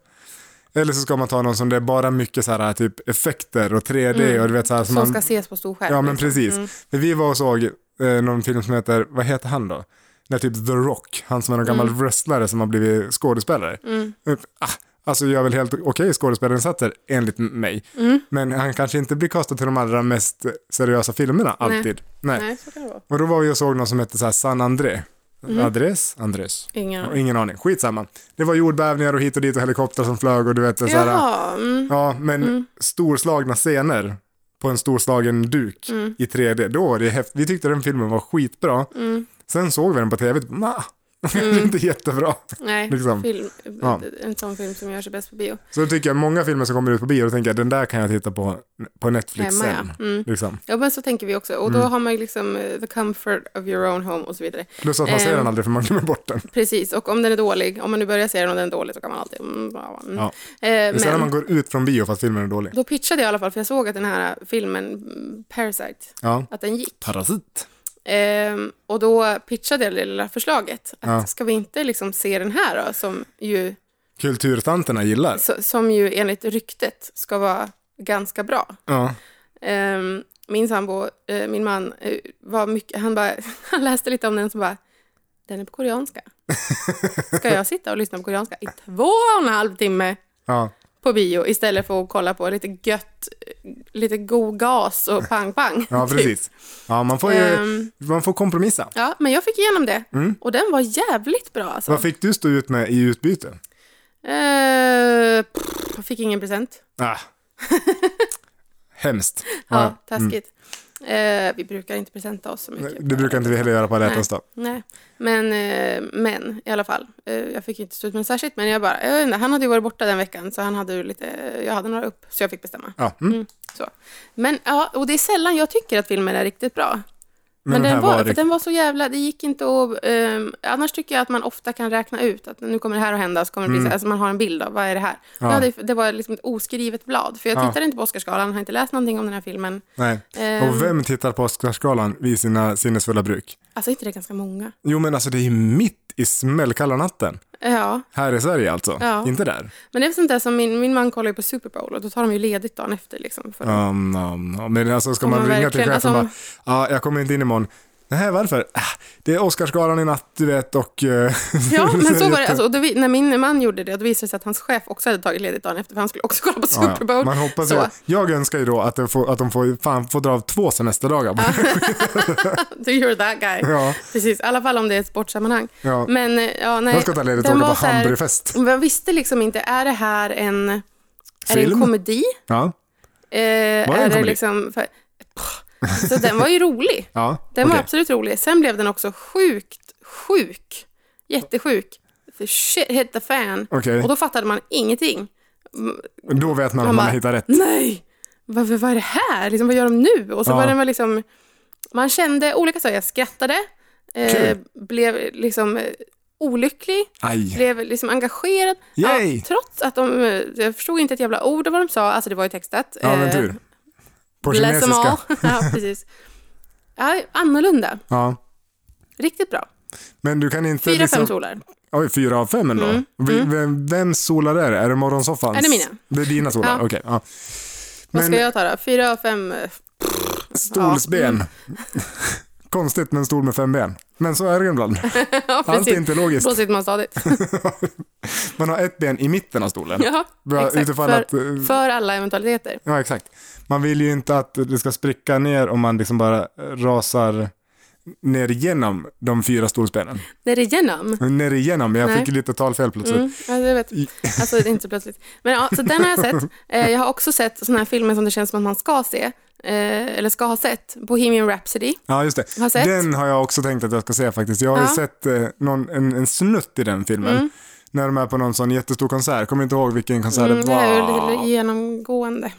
B: Eller så ska man ta någon som det är bara mycket så här typ effekter och 3D och du vet så här som
A: Mm. Som
B: man
A: ska ses på stor skärm.
B: Ja, men
A: liksom.
B: precis. För vi var och såg eh, någon film som heter, vad heter han då? När typ The Rock, han som är någon
A: Mm.
B: gammal wrestlare som har blivit skådespelare. Eh, Ah, alltså gör väl helt okej skådespelarinsatser enligt m- mig.
A: Mm.
B: Men han kanske inte blir castad till de allra mest seriösa filmerna
A: Nej.
B: alltid. Nej.
A: Nej, så kan det vara.
B: Och då var vi och såg någon som hette så här San André. Adress? Andres?
A: Mm. Ingen
B: Ja,
A: aning.
B: Ingen aning, skitsamma. Det var jordbävningar och hit och dit och helikoptrar som flög och du vet. Så här,
A: Jaha, mm.
B: Ja, men storslagna scener på en storslagen duk
A: Mm.
B: i 3D. Då var det häftigt. Vi tyckte den filmen var skitbra.
A: Mm.
B: Sen såg vi den på tv. Typ, nah, inte jättebra.
A: nej.
B: liksom.
A: Film,
B: Ja.
A: En sån film som gör sig bäst på bio.
B: Så då tycker jag många filmer som kommer ut på bio, då tänker jag den där kan jag titta på på Netflix
A: Hemma,
B: sen.
A: ja. Mm.
B: Liksom.
A: Ja, men så tänker vi också. Och då
B: Mm.
A: har man ju liksom eh, the comfort of your own home och så vidare.
B: Plus att man ser
A: Ehm.
B: den aldrig för man glömmer bort den.
A: Precis, och om den är dålig, om man nu börjar se den och den är dålig så kan man alltid... Mm, bra, mm.
B: Ja.
A: Eh,
B: Men sen när
A: men-
B: man går ut från bio för att filmen är dålig.
A: Då pitchade jag i alla fall, för jag såg att den här filmen mm, Parasite,
B: Ja.
A: att den gick.
B: Parasit.
A: Ehm, och då pitchade jag det lilla förslaget. Att
B: Ja.
A: Ska vi inte liksom se den här då, som ju,
B: Kulturtanterna gillar.
A: så- som ju enligt ryktet ska vara ganska bra.
B: Ja.
A: Ehm, min sambo, eh, min man, eh, var mycket, han, bara, han läste lite om den som bara, den är på koreanska. Ska jag sitta och lyssna på koreanska i två och en halv timme
B: ja.
A: på bio istället för att kolla på lite gött, eh, lite god gas och pang-pang?
B: Ja, precis. Ja, man får ju
A: Ehm,
B: man får kompromissa.
A: ja, men jag fick igenom det och den var jävligt bra alltså.
B: Vad fick du stå ut med i utbyte?
A: Eh, pff, jag fick ingen present.
B: Ah. Hemskt.
A: Ja,
B: Ja.
A: taskigt. Eh, vi brukar inte presenta oss så mycket.
B: Det brukar inte vi heller göra på alla hjärtans dag.
A: Nej, men, eh, men i alla fall. Eh, jag fick inte stå ut med det särskilt, men jag bara, jag vet inte, han hade ju varit borta den veckan så han hade ju lite, jag hade några upp, så jag fick bestämma.
B: Ja. Mm.
A: Så. Men ja, och det är sällan jag tycker att filmer är riktigt bra. Men,
B: den här
A: den, var,
B: var
A: för
B: rikt-
A: den var så jävla, det gick inte att, ehm, annars tycker jag att man ofta kan räkna ut att nu kommer det här att hända, så kommer det bli så, alltså man har en bild av vad är det här.
B: Mm. Ja.
A: Ja. Det, det var liksom ett oskrivet blad, för jag
B: Ja.
A: tittade inte på Oscarsgalan, har inte läst någonting om den här filmen.
B: Nej.
A: Ehm.
B: Och vem tittar på Oscarsgalan vid sina sinnesfulla bruk?
A: Alltså inte det ganska många?
B: Jo, men alltså det är ju mitt i smällkalla natten.
A: Ja,
B: Här i Sverige alltså.
A: Ja.
B: Inte där.
A: men det är väl sånt där som min, min man kollar ju på Super Bowl och då tar de ju ledigt dagen efter liksom. För
B: Um, um, um. Men alltså ska
A: Om
B: man,
A: man
B: ringa till
A: verkligen-
B: chefen och bara,
A: alltså
B: ja, jag kommer inte in imorgon. Nej, varför? Äh, det är Oscarsgalan i natt, du vet, och... eh,
A: Ja, men så var det. Alltså, och då, vi- när min man gjorde det, då visade det sig att hans chef också hade tagit ledigt dagen efter, för han skulle också kolla på
B: Ja, ja.
A: Super Bowl.
B: Man hoppas
A: så.
B: ju, jag önskar ju då att de får, att de får, fan, får dra av två semesterdagar.
A: Do you're that guy.
B: Ja.
A: Precis, i alla fall om det är ett sportsammanhang.
B: Ja.
A: Men eh, ja, nej.
B: jag ska ta ledigt och
A: den
B: åka på
A: var så här-
B: Hamburgfest.
A: Man visste liksom inte, är det här en, är det en
B: Film?
A: komedi?
B: Ja,
A: Eh,
B: en
A: är det
B: komedi?
A: liksom... För, Pff, så den var ju rolig.
B: ja.
A: Den var
B: okej.
A: absolut rolig. Sen blev den också sjukt sjuk. Jättesjuk. The shit hit the fan.
B: Okej.
A: Och då fattade man ingenting.
B: Då vet man att man
A: bara-
B: har hittat rätt.
A: Nej! Vad, vad är det här? Liksom, vad gör de nu? Och så
B: Ja.
A: var den väl liksom... Man kände olika saker. Jag skrattade. Eh,
B: Kul.
A: blev liksom eh, olycklig.
B: Aj.
A: Blev liksom engagerad.
B: Yay.
A: trots att de... eh, Jag förstod inte ett jävla ord av vad de sa. Alltså det var ju textat. Eh,
B: Ja, men tur. På kinesiska.
A: ja, precis. Ja, annorlunda.
B: Ja.
A: Riktigt bra.
B: Men du kan inte...
A: Fyra,
B: liksom-
A: fem solar.
B: Oj, fyra av fem ändå. Vi- Vem, vems solar är det? Är det morgonsoffans?
A: Är det mina?
B: Det är dina solar,
A: Ja.
B: okej. ja.
A: Vad
B: Men
A: ska jag ta då? Fyra av fem. eh,
B: stolsben.
A: Mm.
B: Konstigt med en stol med fem ben. Men så är det ibland.
A: Ja,
B: Allt är
A: precis.
B: inte logiskt.
A: Då sitter man stadigt.
B: Man har ett ben i mitten av stolen.
A: Ja,
B: Bara
A: exakt.
B: Utifall
A: För,
B: att, eh,
A: för alla eventualiteter.
B: ja, exakt. Man vill ju inte att det ska spricka ner om man liksom bara rasar ner igenom de fyra stolsbenen.
A: När det är genom.
B: Ner igenom, jag
A: Nej.
B: fick lite talfel plötsligt.
A: Mm, ja, jag vet.
B: I-
A: Alltså det är inte så plötsligt. Men ja, så den har jag sett. Eh, jag har också sett sådana här filmer som det känns som att man ska se. Eh, eller ska ha sett. Bohemian Rhapsody.
B: Ja, just det.
A: Har sett.
B: Den har jag också tänkt att jag ska se faktiskt. Jag har ju
A: Ja. Mm.
B: sett eh, någon, en, en snutt i den filmen. När de är på någon sån jättestor konsert. Kommer inte ihåg vilken konsert
A: Mm,
B: det
A: det
B: var.
A: här är ju lite genomgående.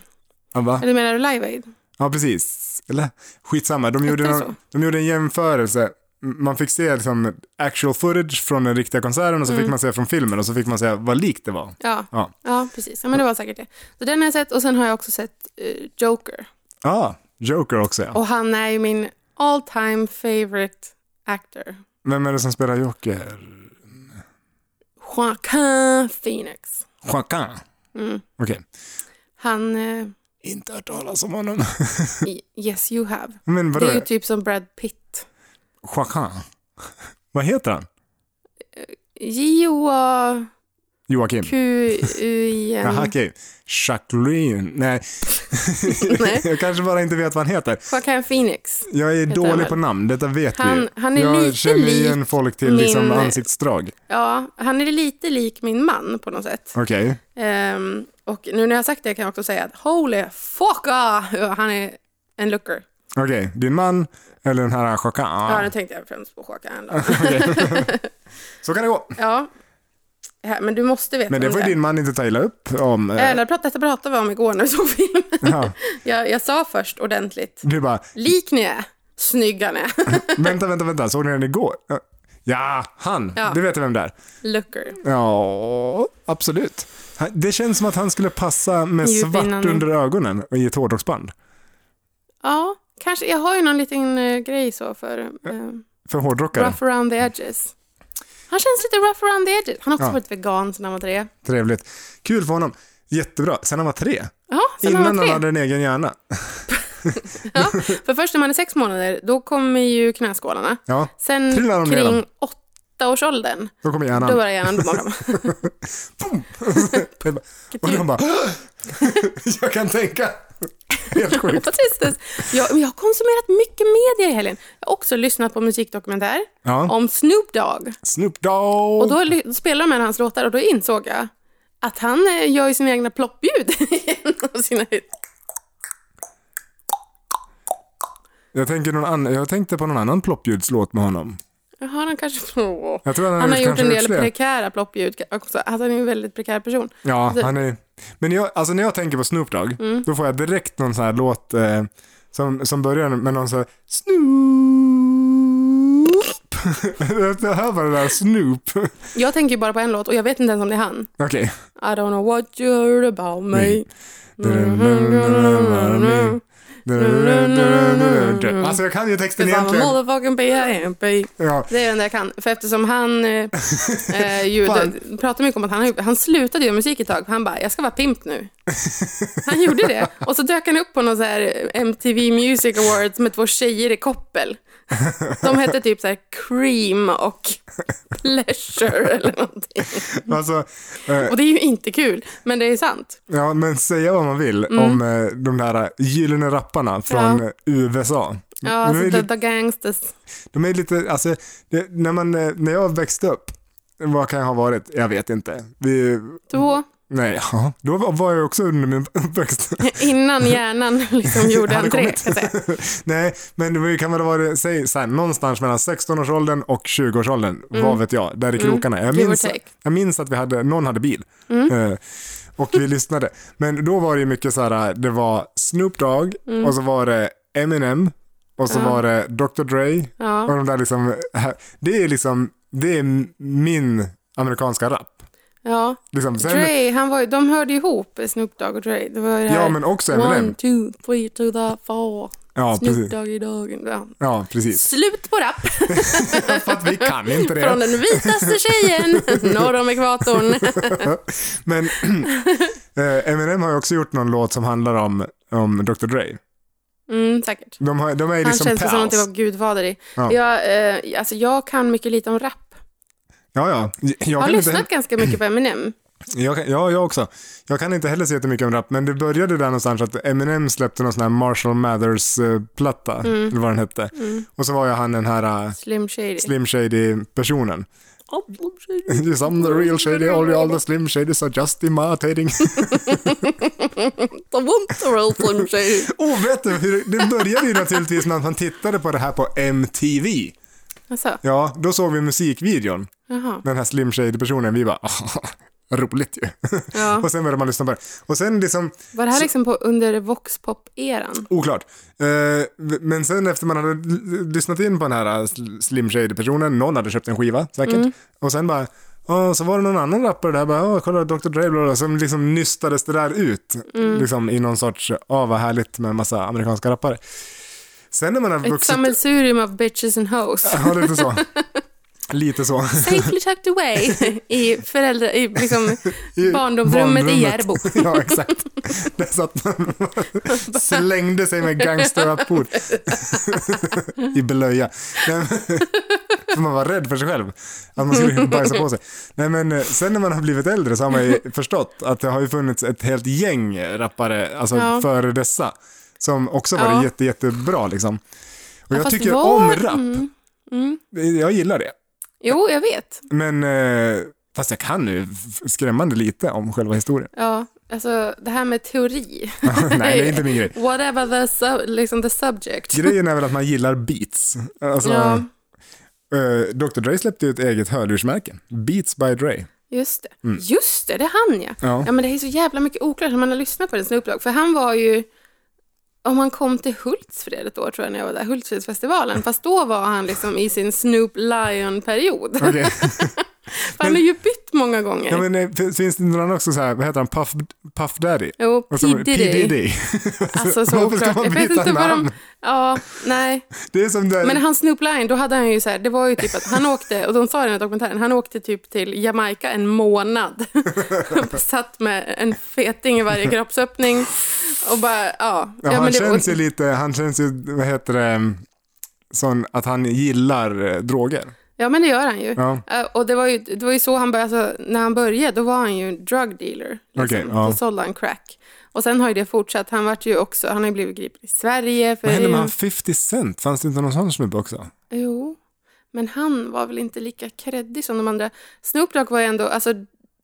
B: ja, va?
A: Eller menar du Live Aid?
B: ja, precis. Eller? Skitsamma. De gjorde,
A: det
B: någon,
A: så?
B: de gjorde en jämförelse. M- Man fick se liksom actual footage från den riktiga konserten och
A: Mm.
B: så fick man se från filmen och så fick man se vad likt det var.
A: Ja.
B: Ja.
A: ja, precis. Ja, men det var säkert det. Så den har jag sett och sen har jag också sett eh, Joker.
B: Ja, ah, Joker också ja.
A: Och han är ju min all time favorite actor.
B: Vem är det som spelar Joker?
A: Joaquin Phoenix.
B: Joaquin.
A: Mm.
B: Okej.
A: Han, eh,
B: Inte hört talas om honom.
A: i- yes you have.
B: Men vadå?
A: Det är ju typ som Brad Pitt.
B: Joaquin. Vad heter han?
A: J-O-A-Q-U-I-N.
B: Joakim. Jaha, okej. Jacqueline. Nej,
A: Nej,
B: jag kanske bara inte vet vad han heter.
A: Joaquin Phoenix.
B: Jag är
A: han
B: dålig
A: väl?
B: på namn, detta vet vi ju.
A: Han, han är
B: jag
A: lite
B: känner
A: lik,
B: igen folk till liksom
A: min-
B: ansiktsdrag.
A: ja, han är lite lik min man på något sätt.
B: Okej.
A: Ehm, och nu när jag har sagt det kan jag också säga att holy fuck ah! Ja, han är en looker.
B: Okej, din man eller den här Jacquin.
A: Ja,
B: Ah.
A: nu tänkte jag främst på Joaquin. då.
B: Så kan det gå.
A: ja, här, men du måste veta
B: Men det
A: om
B: får din man inte ta illa upp om. eh,
A: Eller prat, detta pratade vi om igår när vi såg film.
B: Ja.
A: jag, jag sa först ordentligt,
B: Du bara,
A: lik ni är, snygga ni är,
B: vänta, vänta, vänta, såg ni den igår? Ja, han.
A: Ja.
B: Det vet jag vem det är.
A: looker.
B: Ja, absolut. Han- Det känns som att han skulle passa med svart
A: Djupinnande.
B: under ögonen och i ett hårdrocksband.
A: Ja, Kanske, jag har ju någon liten eh, grej så för eh,
B: För hårdrockare.
A: rough around the edges. Han känns lite rough around the edges. Han har också
B: Ja.
A: varit vegan sedan han var tre.
B: Trevligt. Kul för honom. Jättebra. Sen han var tre.
A: Ja, sedan
B: Innan
A: han var tre.
B: hade en egen hjärna.
A: För först när man är sex månader, då kommer ju knäskålarna.
B: Ja,
A: Sen
B: Trillar de ner dem?
A: kring åttaårsåldern,
B: då kommer
A: då
B: hjärnan.
A: börjar hjärnan blomma fram.
B: Och de bara... jag kan tänka. Helt sjukt.
A: Vad trist det är. jag, men jag har konsumerat mycket media i helgen. Jag har också lyssnat på musikdokumentär
B: Ja. Oh.
A: om Snoop Dogg.
B: Snoop Dogg.
A: Och då ly- då spelade de en av hans låtar och då insåg jag att han eh, gör ju sina egna ploppljud i en av sina hits.
B: Jag, tänker någon annan, jag tänkte på någon annan ploppljudslåt med honom.
A: Jaha, han kanske... Åh.
B: Jag tror att han,
A: Han har gjort
B: kanske
A: en del
B: fler.
A: prekära ploppljud också. Alltså, han är ju en väldigt prekär person.
B: Ja,
A: Så-
B: han är... Men jag, alltså när jag tänker på Snoop Dogg, då får jag direkt någon sån här låt eh, som, som börjar med någon sån här Snoop. jag hör bara det där Snoop. Okej.
A: Jag tänker ju bara på en låt och jag vet inte ens om det är han. I don't know what you heard about Mm-hmm. me.
B: Alltså jag kan ju texten
A: Cause I'm a
B: egentligen.
A: motherfucking B.I.M.P.
B: Ja,
A: Det är det enda jag kan. För eftersom han eh, eh, ju,
B: Fan.
A: d- pratar mycket om att han, har ju- han slutade göra musik ett tag. För han bara, jag ska vara pimp nu. Han gjorde det. Och så dök han upp på någon så här eh, MTV Music Awards med två tjejer i koppel. De hette typ så här Cream och Pleasure eller någonting.
B: alltså, eh,
A: Och det är ju inte kul, men det är sant.
B: ja, men säga vad man vill om eh, de där gyllene rapparna från eh, USA.
A: Ja,
B: Men det är
A: alltså
B: lite-
A: The, the Gangsters.
B: De är lite, alltså, det, när, man, eh, när jag växte upp, vad kan jag ha varit? Jag vet inte. Vi,
A: Då,
B: nej, ja, då var- var jag också under min uppväxt.
A: innan hjärnan liksom gjorde
B: Hade
A: entré,
B: kommit.
A: kan jag säga.
B: nej, men det var ju- kan väl ha varit, säg så här, någonstans mellan 16-årsåldern och 20-årsåldern, vad vet jag, där i krokarna. Jag
A: Mm. Give or
B: minns,
A: take. Mm.
B: jag minns att vi hade, någon hade bil eh, och vi lyssnade. Men då var det ju mycket så här, eh, det var Snoop Dogg
A: Mm.
B: och så var det Eminem och så var det Dr. Dre
A: Ja.
B: Och de där liksom, det är liksom, det är min amerikanska rap.
A: Ja.
B: Liksom, sen,
A: Dre, han var, ju- de hörde ihop, Snoop Dogg och Dre. Det var ju det här,
B: ja men också
A: One,
B: Eminem.
A: two, three to the four.
B: Ja
A: Snoop
B: precis.
A: Doggy Dogg. Ja.
B: Ja precis.
A: Slut på rapp
B: För att vi kan inte
A: från
B: det.
A: den vitaste tjejen norr om ekvatorn.
B: Men eh, Eminem har ju också gjort någon låt som handlar om, om Dr. Dre.
A: Mm, säkert.
B: De, har, de är ju
A: Han
B: liksom
A: känns ju som
B: pals.
A: någon typ av gudfader i.
B: Ja.
A: Jag, eh, alltså, jag kan mycket lite om rap.
B: Ja, ja.
A: Jag
B: Jag
A: har
B: kan inte,
A: lyssnat ganska mycket på Eminem.
B: jag, kan- ja, jag också. Jag kan inte heller så jättemycket om rap, men det började där någonstans att Eminem släppte någon sån här Marshall Mathers-platta,
A: Mm.
B: eller vad den hette. Och så var ju han den här eh,
A: Slim Shady.
B: Slim Shady-personen.
A: Oh, Slim Shady.
B: Yes, I'm the real shady, all, all the slim shadies are just imitating.
A: The womp, the real Slim Shady.
B: Oh, vet du, hur, det började ju naturligtvis med att man tittade på det här på MTV.
A: Alltså,
B: Ja, då såg vi musikvideon.
A: jaha.
B: Den här slim shady-personen, vi bara "Ah, roligt ju.
A: Ja.
B: Och sen började man lyssna på det. Och sen liksom,
A: Var det här liksom på under voxpop-eran?
B: oklart. Eh, men sen efter man hade l- lyssnat in på den här sl- slim shady-personen, någon hade köpt en skiva säkert.
A: Mm.
B: Och sen bara, ja, så var det någon annan rappare där, bara, "Ja, kolla Dr. Dre, bla, bla, bla, som liksom nystades det där ut.
A: Mm.
B: Liksom i någon sorts, ja vad härligt med massa amerikanska rappare. Sen när man har
A: Ett
B: vuxit,
A: sammelsurium av bitches and hoes.
B: ja lite så. lite så.
A: Safely tucked away i, föräldra, i liksom
B: I
A: barndomsrummet i
B: barnrummet.
A: Järbo.
B: ja, exakt. Där satt man slängde sig med gangsterrappor i blöja. Nej, men, för man var rädd för sig själv, att man skulle bajsa på sig. Nej, men, eh, sen när man har blivit äldre så har man ju förstått att det har ju funnits ett helt gäng rappare alltså,
A: Ja.
B: före dessa som också varit
A: Ja.
B: jätte, jättebra. Liksom. Och jag
A: Fast
B: tycker
A: var-
B: om rap,
A: Mm, mm.
B: jag gillar det.
A: Jo, jag vet.
B: Men, eh, fast jag kan ju f- skrämmande lite om själva historien.
A: Ja, alltså det här med teori.
B: Nej, det är inte min grej.
A: Whatever the, su- liksom the subject.
B: Grejen är väl att man gillar beats. Alltså,
A: Ja,
B: eh, Dr. Dre släppte ju ett eget hörlursmärke. Beats by Dre.
A: just det. Just det, det är han ja.
B: Mm. Ja.
A: Ja, men det är så jävla mycket oklart när man har lyssnat på den Snoop Dogg. För han var ju, om han kom till Hultsfred ett år tror jag när jag var där, Hultsfredsfestivalen. Fast då var han liksom i sin Snoop Lion-period.
B: Okej.
A: För han har ju bytt många gånger.
B: Ja, men, eh, fin- finns det någon annan också så här, vad heter han, Puff, Puff Daddy?
A: Jo,
B: Och så-
A: P. Diddy. Alltså så
B: Varför ska
A: oklart.
B: man
A: Jag vet
B: byta
A: inte vad de...
B: namn?
A: Ja, nej.
B: Det är som där,
A: Men han Snoop Lion, då hade han ju så här, det var ju typ att han åkte, och de sa i den här dokumentären, han åkte typ till Jamaica en månad. Satt med en feting i varje kroppsöppning och bara, ja. Ja,
B: ja, han
A: det-
B: känns ju lite, han känns ju, vad heter det, sån, att han gillar eh, droger.
A: ja men det gör han ju.
B: Ja.
A: Eh, Och det var ju, det var ju så han började, alltså, när han började då var han ju en drug dealer. Liksom.
B: Okej, ja.
A: Då sålde han crack. Och sen har ju det fortsatt. Han vart ju också, han har ju blivit gripen i Sverige. För
B: Vad hände med han 50 Cent? Fanns det inte någon sån snubbe också?
A: Jo, men han var väl inte lika kreddig som de andra. Snoop Dogg var ju ändå, alltså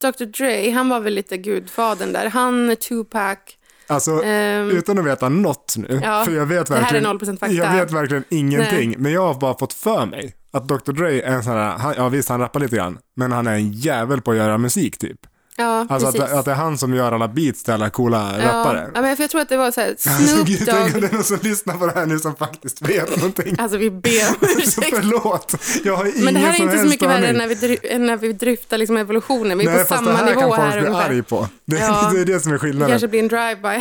A: Dr Dre, han var väl lite gudfadern där. Han, Tupac.
B: Alltså,
A: ehm,
B: utan att veta något nu,
A: ja,
B: för jag vet
A: det här är
B: verkligen,
A: 0% fakta.
B: jag vet verkligen ingenting, men jag har bara fått för mig att Dr. Dre är en sån här, han, ja visst han rappar lite grann, men han är en jävel på att göra musik typ.
A: ja,
B: Alltså att,
A: precis.
B: att det är han som gör alla beats till alla coola
A: ja,
B: rappare.
A: ja, men för jag tror att det var så här,
B: Alltså, gud,
A: Snoop
B: tänk om det
A: Dogg.
B: är någon som lyssnar på det här nu som faktiskt vet någonting.
A: Alltså vi ber om
B: Så
A: ursäkt.
B: förlåt, jag har ingen
A: Men det här är
B: som
A: inte så
B: helst
A: mycket värre
B: aning.
A: än när vi, dry- än när vi dryftar liksom evolutionen. Vi är
B: Nej,
A: på
B: fast
A: samma
B: det här
A: nivå
B: kan folk
A: här
B: bli
A: ungefär.
B: arg på. Det,
A: Ja.
B: det är det som är
A: Det
B: skillnaden.
A: kanske blir en drive-by.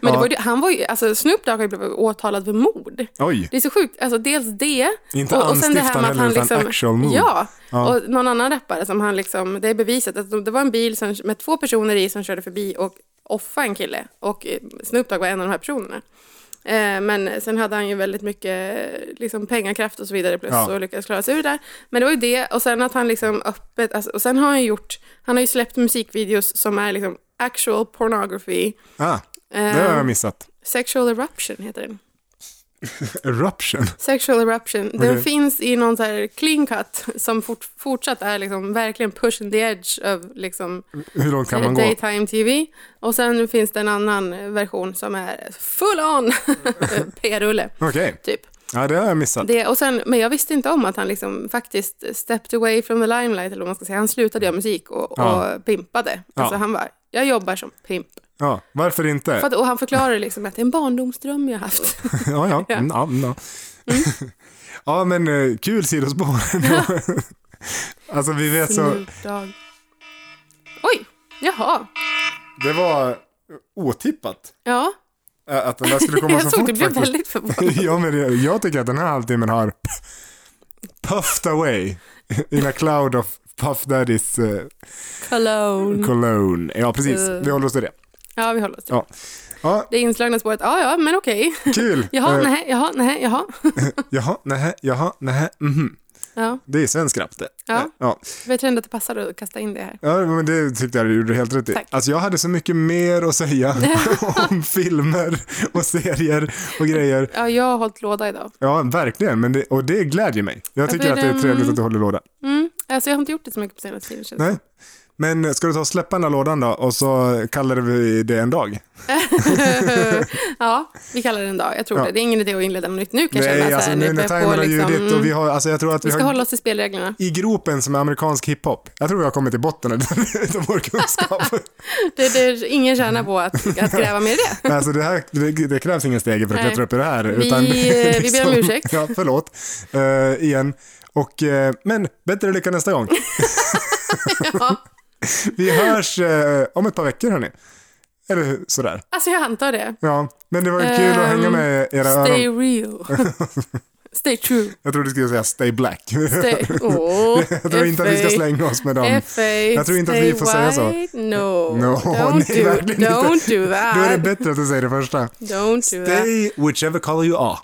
A: Men det
B: Ja.
A: var ju, han var ju, alltså Snoop Dogg har ju blivit åtalad för mord.
B: Oj,
A: Det är så sjukt. Alltså dels det.
B: inte
A: och- och sen det här
B: anstiftan
A: med att
B: heller
A: han
B: utan
A: liksom-
B: actual move.
A: Ja.
B: Ja.
A: Och någon annan rappare som han liksom, det är beviset att de- det var en bil som, med två personer i som körde förbi och offade en kille. Och eh, Snoop Dogg var en av de här personerna. Eh, Men sen hade han ju väldigt mycket eh, liksom, pengakraft och så vidare plus
B: Ja.
A: och lyckades klara sig ur det där. Men det var ju det och sen att han liksom öppet, alltså, och sen har han ju gjort, han har ju släppt musikvideos som är liksom actual pornography.
B: Ah, det har
A: Eh,
B: jag missat.
A: sexual eruption heter den.
B: Eruption.
A: Sexual Eruption. Den
B: Okej.
A: finns i någon så här clean cut som fort, fortsatt är liksom verkligen pushing the edge av liksom
B: Hur långt kan man gå?
A: daytime TV. Och sen finns det en annan version som är full on p-rulle.
B: Okej,
A: Typ.
B: ja, det har jag missat.
A: Det, och sen, men jag visste inte om att han liksom faktiskt stepped away from the limelight, eller vad man ska säga. Han slutade göra musik och,
B: Ja.
A: och pimpade. Alltså
B: Ja.
A: han var, jag jobbar som pimp.
B: Ja, varför inte?
A: För att, och han förklarade liksom att det är en barndomsdröm jag haft.
B: ja, ja. Mm, ja, mm, ja.
A: Mm.
B: ja, men eh, kul sidospår. alltså vi vet så,
A: Snoop Dogg. Oj, jaha.
B: det var otippat
A: Ja,
B: eh, att den där skulle komma så
A: jag såg typ
B: fort
A: du blev
B: faktiskt.
A: väldigt förvånad.
B: ja, men jag, jag tycker att den här halvtimmen har puffed away in a cloud of Puff Daddys eh,
A: Cologne.
B: cologne. Ja, precis.
A: Mm. Eh.
B: Vi håller oss till det.
A: Ja, vi håller oss till
B: Ja. Ja,
A: det inslagna spåret. Ja, ja, men okej.
B: kul.
A: Jaha,
B: Eh,
A: nej, jaha, nej, jaha.
B: Jaha, nähä, jaha, nähä, mhm.
A: Ja,
B: Det är svensk rap det.
A: Ja.
B: ja.
A: jag tror ändå att det passar att kasta in det här.
B: Ja, men det tyckte jag du gjorde helt rätt i.
A: Tack.
B: Alltså jag hade så mycket mer att säga om filmer och serier och grejer.
A: Ja, jag har hållit låda idag.
B: Ja, verkligen. Men det, och det glädjer mig. Jag tycker
A: blir
B: att det är
A: det,
B: trevligt
A: mm.
B: att du håller låda.
A: Mm. Alltså, jag har inte gjort det så mycket på senaste tiden. känns det.
B: Nej. Men ska du ta och släppa den där lådan då och så kallar vi det en dag?
A: ja, vi kallar det en dag. Jag tror
B: Ja.
A: det. Det är ingen idé att inleda något nytt nu kan jag känna.
B: Nej,
A: så
B: alltså
A: här,
B: nu när
A: börjar
B: timern har ljudit och vi
A: vi,
B: har, alltså jag tror att vi,
A: vi ska
B: har
A: hålla oss till spelreglerna.
B: i gropen som är amerikansk hiphop. Jag tror vi har kommit till botten av av vår kunskap.
A: Det, det är ingen tjänar på att, att gräva mer i det.
B: alltså det, här, det, det krävs ingen stege för att
A: Nej.
B: klättra upp i det här.
A: Vi,
B: utan det är
A: eh, vi ber om ursäkt.
B: Ja, förlåt. Eh, igen. Och, eh, men bättre lycka nästa gång.
A: Ja.
B: Vi hörs eh, om ett par veckor hörni. Eller hur? sådär.
A: Alltså, jag antar det.
B: Ja, men det var kul att hänga med era
A: Ehm, Stay
B: öron.
A: real. Stay true.
B: Jag trodde du skulle säga stay black.
A: Stay... Åh,
B: Jag tror inte att vi ska slänga oss med dem.
A: FA,
B: Jag tror inte att vi får säga så.
A: No,
B: No,
A: don't,
B: nej,
A: do,
B: verkligen inte.
A: don't do that.
B: Då är det bättre att du säger det första.
A: don't do that.
B: Stay whichever color you are.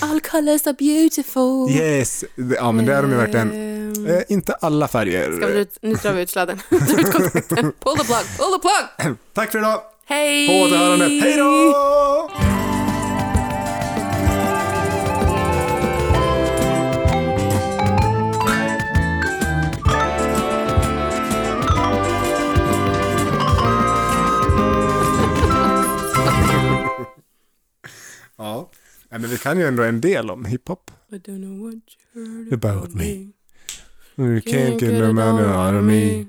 A: All colors are beautiful.
B: Yes. Ja, men det är de ju verkligen.
A: Ehm,
B: Eh, inte alla färger.
A: Ska vi, nu drar vi ut sladden. Dra ut kontakten. Pull the plug, pull the plug.
B: Tack för idag.
A: Hej!
B: På återhörande. Hej då! Ja, Nej, men vi kan ju ändå en del om hiphop.
A: I don't know what you heard
B: About me. You can't get no money out of me.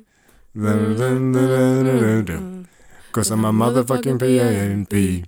B: Cause I'm a motherfucking P-A-M-P.